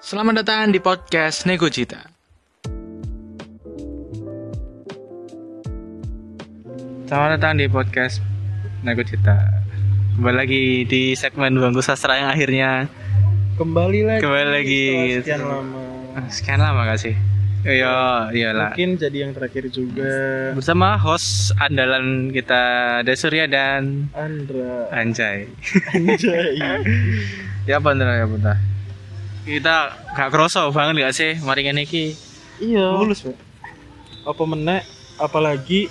Selamat datang di podcast Nego Cita. Selamat datang di podcast Nego Cita. Kembali lagi di segmen Bangku Sastra yang akhirnya kembali lagi Kembali lagi. setelah sekian lama eh, sekian lama gak sih? Iya, iyalah. mungkin jadi yang terakhir juga Bersama host andalan kita Desurya dan Andra Anjay. Anjay ya bentar ya bentar. Kita gak kroso banget gak sih maringan iki? iya mulus pak apa menek apalagi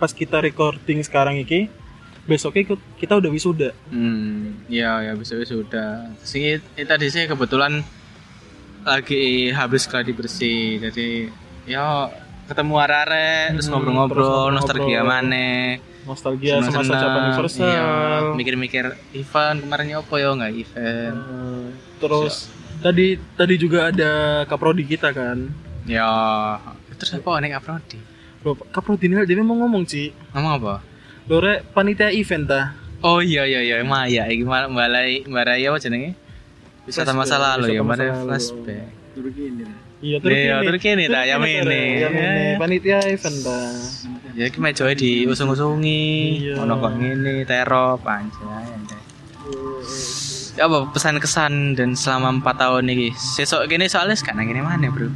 pas kita recording sekarang iki besoknya ikut- kita udah wisuda Hmm, ya ya besok sudah. Sini eh, tadi sih kebetulan lagi habis gladi bersih, jadi ya ketemu arare, terus ngobrol-ngobrol, Hmm, terus ngobrol-ngobrol. Iya, nostalgia maneh, nostalgia semasa seneng-seneng, Japan Universal iya, mikir-mikir event kemarin apa ya nggak event. Eh, terus tadi tadi juga ada kaprodi kita kan Ya, terus apa nek Aprodi? Loh, kaprodi ini dia mau ngomong sih Ngomong apa? Lore panitia event ta Oh iya iya iya Maya iki mal- balai Baraya apa jenenge? Wisata Flashback, masa lalu ya, wisata masa Mare lalu. flashback. Iya, Iya, Turki ini, tak, Iya. yang ini. Yang ini, panitia event, tak. Ya iki mejoe diusung-usungi, Iya. ono kok ngene terop anjay. anjay. Ya apa pesan kesan dan selama 4 tahun iki? Sesok gini soalnya sekarang gini mana, Bro?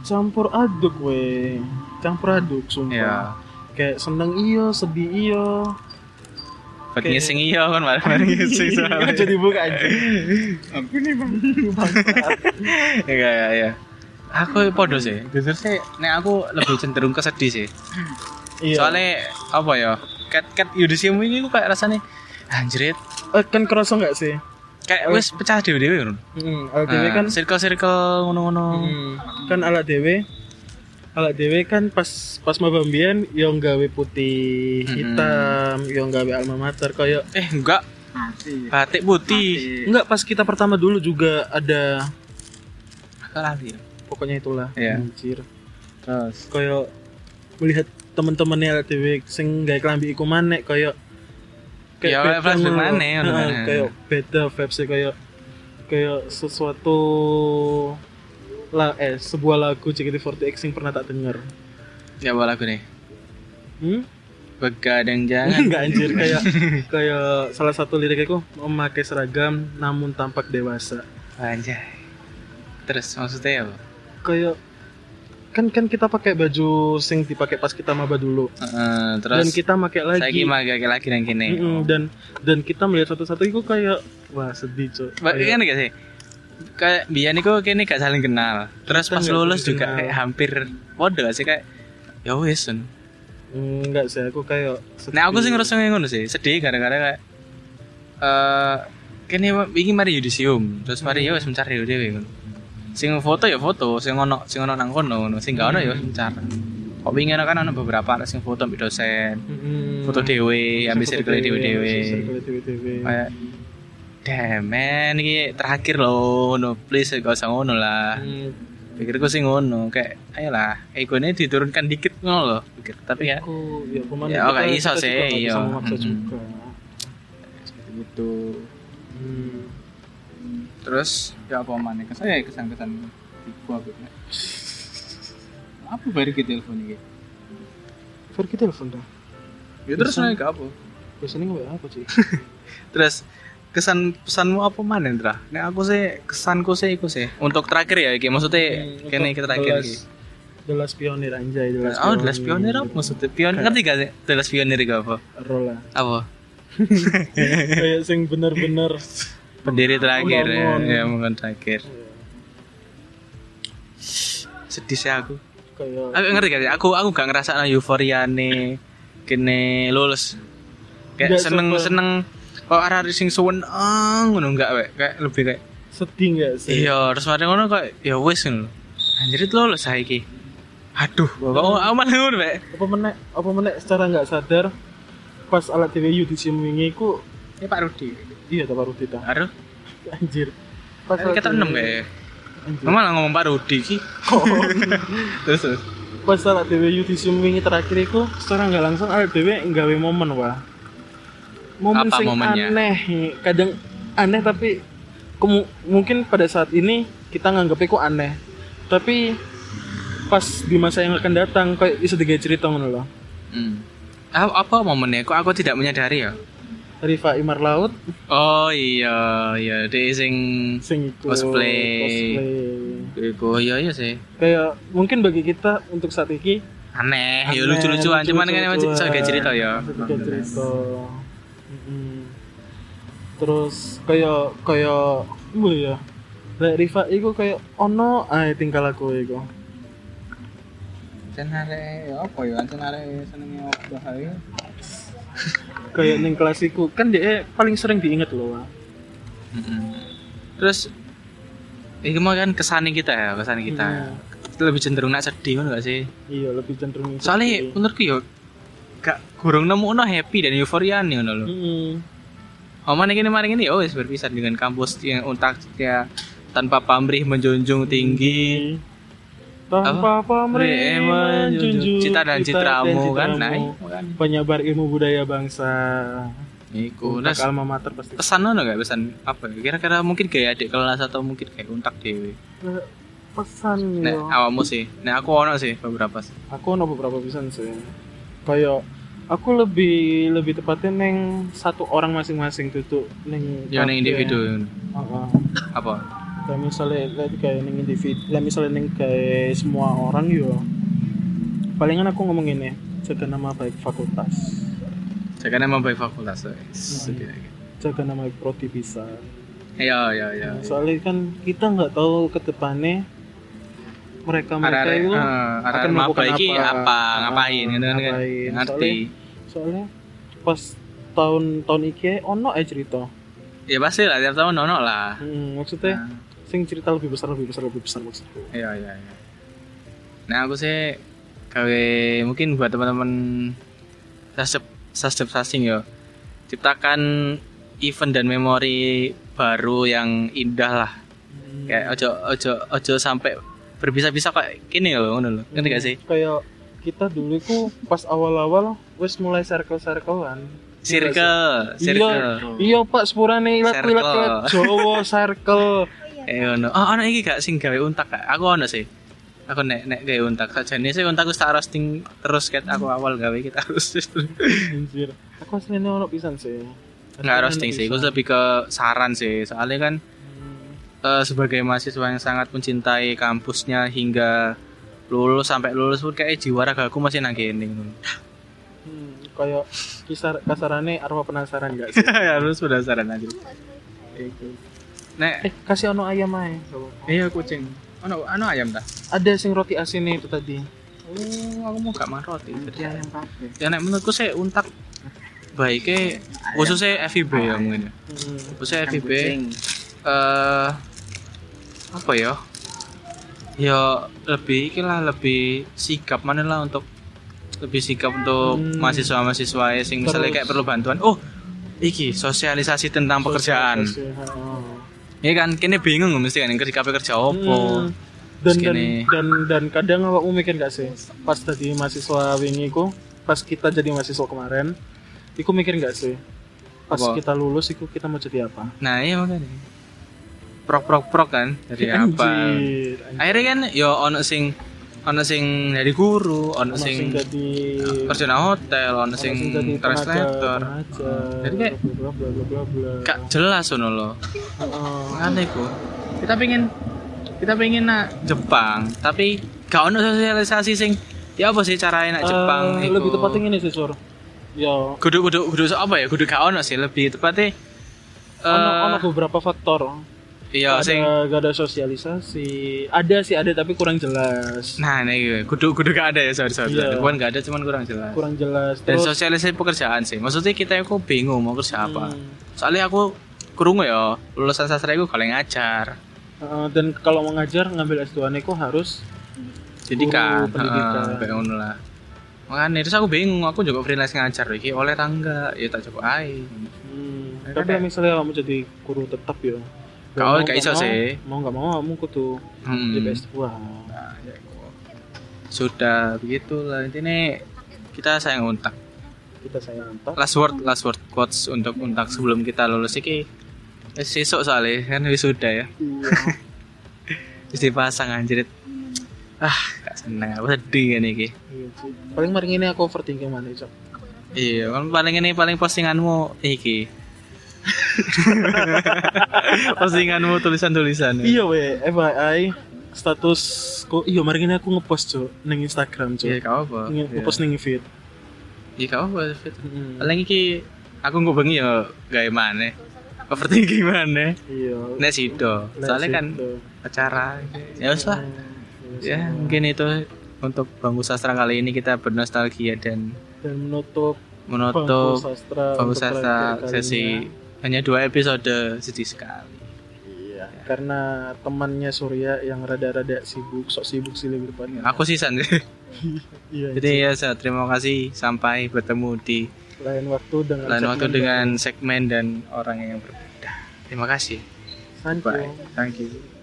Campur aduk, we. Campur aduk, sumpah. Ya. Kayak seneng iyo, sedih iyo. Buat Oke. Iya, ngising iya kan bareng ngising soalnya. Jadi buka aja. Aku nih bang. Iya iya iya. Aku podo sih. Jujur sih nek aku lebih cenderung ke sedih sih. Iya. Soalnya apa ya? Cat cat yudisium ini aku kayak rasanya anjrit Eh, kan kerasa nggak sih? kayak wis pecah dhewe-dhewe ngono. Hmm, ala dewe Oh. Ah, kan, circle-circle ngono-ngono. hmm, kan ala dewe, ala dewe kan pas pas maba mbiyen yo nggawe putih Mm-mm. hitam, yo nggawe alma mater kayak Eh enggak, batik putih. enggak pas kita pertama dulu juga ada Aku lali ya. pokoknya itulah Iya. anjir Terus kaya melihat teman-temannya LTW sing gak kelambi iku manek kaya Ya, beda flashback ngono. maneh, ngono Heeh, maneh. kaya beda vibes kaya kaya sesuatu lah eh sebuah lagu JKT48 sing pernah tak denger ya apa lagu nih? hmm? Begadang jangan. enggak anjir kayak kayak salah satu liriknya ku memakai seragam namun tampak dewasa Anjay. Terus maksudnya apa? kayak kan kan kita pakai baju sing dipakai pas kita maba dulu Heeh, terus dan kita pakai lagi saya gimana lagi lagi dan kene. Mm-mm, dan dan kita melihat satu-satu itu kayak wah sedih cok. Ba- Kayak- kan gak sih? Kayak biyen niku kene gak saling kenal. Terus Kita pas nggak lulus saling juga kenal. kayak hampir podo gak sih kayak ya wis. Sun. Mm, enggak sih aku kayak sedih. Nah aku sih ngerasa kayak ngono sih, sedih gara-gara kayak eh kene iki mari yudisium, terus mari ya wis mencar dhewe dhewe ngono. Sing foto ya foto, sing ono sing ono nang kono ngono, sing gak ono ya wis mencar. Kok wingi ono kan ono beberapa anak sing foto ambek dosen, Mm-mm. foto dhewe, Foto ambek circle dewe, dhewe-dhewe. ambil circle dewe-dewe. Kayak Demen, ini terakhir loh, ngono please gak usah ngono lah. Mm, Pikirku sih ngono, kayak ayolah, egonya diturunkan dikit ngono loh, pikir. Tapi ya aku ya kemana Ya, kita- nggak iso kita sih, juga nggak iya. bisa memaksa Mm-mm. juga. gitu. Mm. terus ya apa mana kesan ya kesan kesan di gua gitu apa baru kita telepon ini Fer kita telepon dah. ya terus naik naik apa Biasanya nggak apa sih? terus kesan pesanmu apa mana Indra? Nek aku sih kesanku sih iku sih. Untuk terakhir ya iki maksudnya Mm, kene untuk iki terakhir The iki. Last- The Last Pioneer anjay, The Last Oh, jelas pionir apa maksudnya? Pion ngerti gak sih? Jelas pionir iku apa? Roll lah. Apa? Kayak sing bener-bener Pendiri terakhir ya, Membangun. ya mungkin terakhir. Sedih sih aku. kayak Aku ngerti gak sih? Aku aku gak ngerasa euforia nih kene lulus. Kayak Nggak seneng sabar. seneng kok arah sing suwen ah ngono enggak wek kayak lebih kayak sedih nggak sih? iya terus mari ngono kayak ya wis ngono. Anjir itu lulus saiki. Aduh, kok aku malah ngono wek. apa menek apa menek secara nggak sadar pas alat TVU di Cimingi ku Ini Ya, Pak Rudi. iya tak baru kita Aduh, anjir pas ini kita TVU enam kayak. anjir. Oh. Mama lah ngomong Pak Rudi ki. terus terus. pas alat TVU di Cimingi terakhir ku secara nggak langsung alat TVU nggawe momen wah momen Apa sing momennya? aneh kadang aneh tapi kemu- mungkin pada saat ini kita nganggepnya kok aneh tapi pas di masa yang akan datang kayak bisa digawe cerita ngono loh Hmm. Ah, apa momennya kok aku tidak menyadari ya Rifa Imar Laut oh iya iya dia sing sing iku Cosplay. cosplay. iku iya iya sih kayak mungkin bagi kita untuk saat ini aneh, aneh, ya lucu-lucuan cuman kan emang lucu-lucuan. bisa kayak cerita ya Bisa kayak cerita Mm-mm. terus kayak kayak bu ya Lek Rifa iku kayak ono ae tingkal aku iku cenare ya apa ya cenare senenge apa ae kayak ning kelas iku kan dia paling sering diinget loh Wak. terus ini mah kan kesane kita ya kesane kita lebih cenderung nak sedih kan gak sih iya lebih cenderung gitu. ikut soalnya sih. menurutku ya gak kurang nemu no happy dan euforia nih ngono lho Mm-mm. Oman ini maring ini oh wis berpisah dengan kampus yang untak ya tanpa pamrih menjunjung tinggi tanpa pamrih Re- menjunjung menjunjung cita dan citramu kan nah citramu. iku kan. penyebar ilmu budaya bangsa iku Untuk terus alma mater pasti pesan ono gak pesan apa ya? kira-kira mungkin kayak adik kelas atau mungkin kayak untak dewe pesan nek yo. awakmu sih nek aku ono sih beberapa sih aku ono beberapa pisan sih kayak aku lebih lebih tepatnya neng satu orang masing-masing tutup neng ya ning kafe. individu Heeh. apa kayak misalnya lihat kayak neng individu lah misalnya neng kayak semua orang yo palingan aku ngomong ini jaga nama baik fakultas saya kan emang baik fakultas wis. Hmm. Oke, oke. jaga nama baik prodi bisa ya ya ya soalnya kan kita nggak tahu ke depannya mereka mereka arah-arah itu eh, arah akan maba melakukan iki apa. apa Ah, ngapain gitu kan kan ngapain. ngerti soalnya pas tahun tahun iki ono aja cerita ya pasti lah tiap tahun ono lah Hmm, maksudnya Nah, sing cerita lebih besar lebih besar lebih besar maksudku iya iya iya nah aku sih gawe mungkin buat teman-teman sasep sasep sasing ya ciptakan event dan memori baru yang indah lah Hmm. kayak Hmm. ojo ojo ojo sampai berpisah-pisah kayak gini loh ngono loh ngerti gak sih kayak kita dulu itu pas awal-awal wes mulai circle circlean circle iya circle iya pak sepurane ilat ilat Circle. ilat Jawa circle eh ono oh ono iki gak sing gawe untak gak? aku ono sih aku nek nek gawe untak sajane sih untak wis tak roasting terus ket aku awal gawe kita roasting anjir aku aslinya ono pisan sih nggak Aslinya roasting ono sih aku pisan. lebih ke saran sih soalnya kan Hmm. eh, sebagai mahasiswa yang sangat mencintai kampusnya hingga lulus sampai lulus pun kayak jiwa raga aku masih nang kene Hmm, kayak kisar kasarane arwah penasaran gak sih Ya, gitu. harus penasaran aja nek eh kasih ono ayam aja gak apa-apa. iya kucing ono ono ayam dah ada sing roti asin itu tadi oh aku mau gak makan roti Iya, ayam kafe ya nek menurutku sih untak baiknya khususnya FIB ya mungkin ya. Hmm. khususnya FIB eh apa ya ya lebih ikilah lebih sikap mana lah untuk lebih sikap untuk Hmm. mahasiswa-mahasiswa ya sing misalnya Terus. kayak perlu bantuan oh iki sosialisasi tentang pekerjaan ya kan kini bingung mesti kan yang kerja kerja opo Hmm. Dan, Terus dan, gini. dan dan kadang awakmu mikir gak sih pas tadi mahasiswa wingi ku pas kita jadi mahasiswa kemarin iku mikir gak sih pas Apa? kita lulus iku kita mau jadi apa nah iya makanya prok prok prok kan dari apa Iya, Anjir, anjir. akhirnya kan yo ono sing ono sing dari guru ono Ono sing sing jadi kerja nang hotel ono sing ono jadi tenaga translator pengajar, Jadi kayak- bla bla bla bla bla gak jelas ono lo Heeh. kan iku kita pengen kita pengen nak Jepang tapi gak ono sosialisasi sing ya apa sih caranya nak Eh, Jepang iku Eh, lebih tepatnya gini sih sur ya kudu kudu kudu so- apa ya kudu gak ono sih lebih tepatnya eh ono, ono beberapa faktor iya Gak sing ada, gak ada sosialisasi ada sih ada tapi kurang jelas nah ini gue kudu kudu gak ada ya sorry sorry Iya. bukan gak ada cuman kurang jelas kurang jelas dan terus sosialisasi pekerjaan sih maksudnya kita itu bingung mau kerja apa Hmm. soalnya aku kerungu ya lulusan sastra itu kalau ngajar Uh, dan kalau mau ngajar ngambil S2 niku harus jadi kan Guru pendidikan. heeh, kayak ngono lah makanya terus aku bingung aku juga freelance ngajar iki oleh tangga ya tak cukup ae hmm, Ya tapi kan, ya? misalnya kamu jadi guru tetap ya Gak- Mau gak iso mau, sih. mau nggak mau kamu kudu hmm. jadi S2 Nah, ya iku. sudah begitulah intinya kita sayang untak kita sayang mantap last word last word quotes untuk untak sebelum kita lulus iki Wis sesuk soalnya kan wisuda ya. Iya. Wis dipasang anjir. Ah, gak seneng aku sedih kan iki. Iya, Cuk. Paling maring ini aku overthinking mana, Cuk. Iya, kan paling ini paling postinganmu iki. postinganmu tulisan-tulisan. Iya we, FYI status kok iya maring ini aku ngepost Cuk ning Instagram Iya, Cuk. gak apa. Nge- Ngepost ning feed. Iya, gak apa. Fit. Mm. Paling iki aku nggak bengi ya gawe maneh. Overthinking maneh. Iya. Nek sido. Nek Soalnya kan situ. acara ya wis lah. Mm, iya, Ya, semua. mungkin itu untuk Bangku Sastra kali ini kita bernostalgia dan dan menutup Bangku menutup Sastra Bangku untuk Sastra terakhir sesi kalinya. hanya dua episode sedih sekali. Ya. Iya, karena temannya Surya yang rada-rada sibuk, sok sibuk sih lebih depannya. Aku sih San. iya, Jadi ya saya terima kasih sampai bertemu di Cuk. lain waktu dengan lain waktu segmen dengan segmen dan orang yang berbeda. Terima kasih. Sanjo. Bye. Thank you.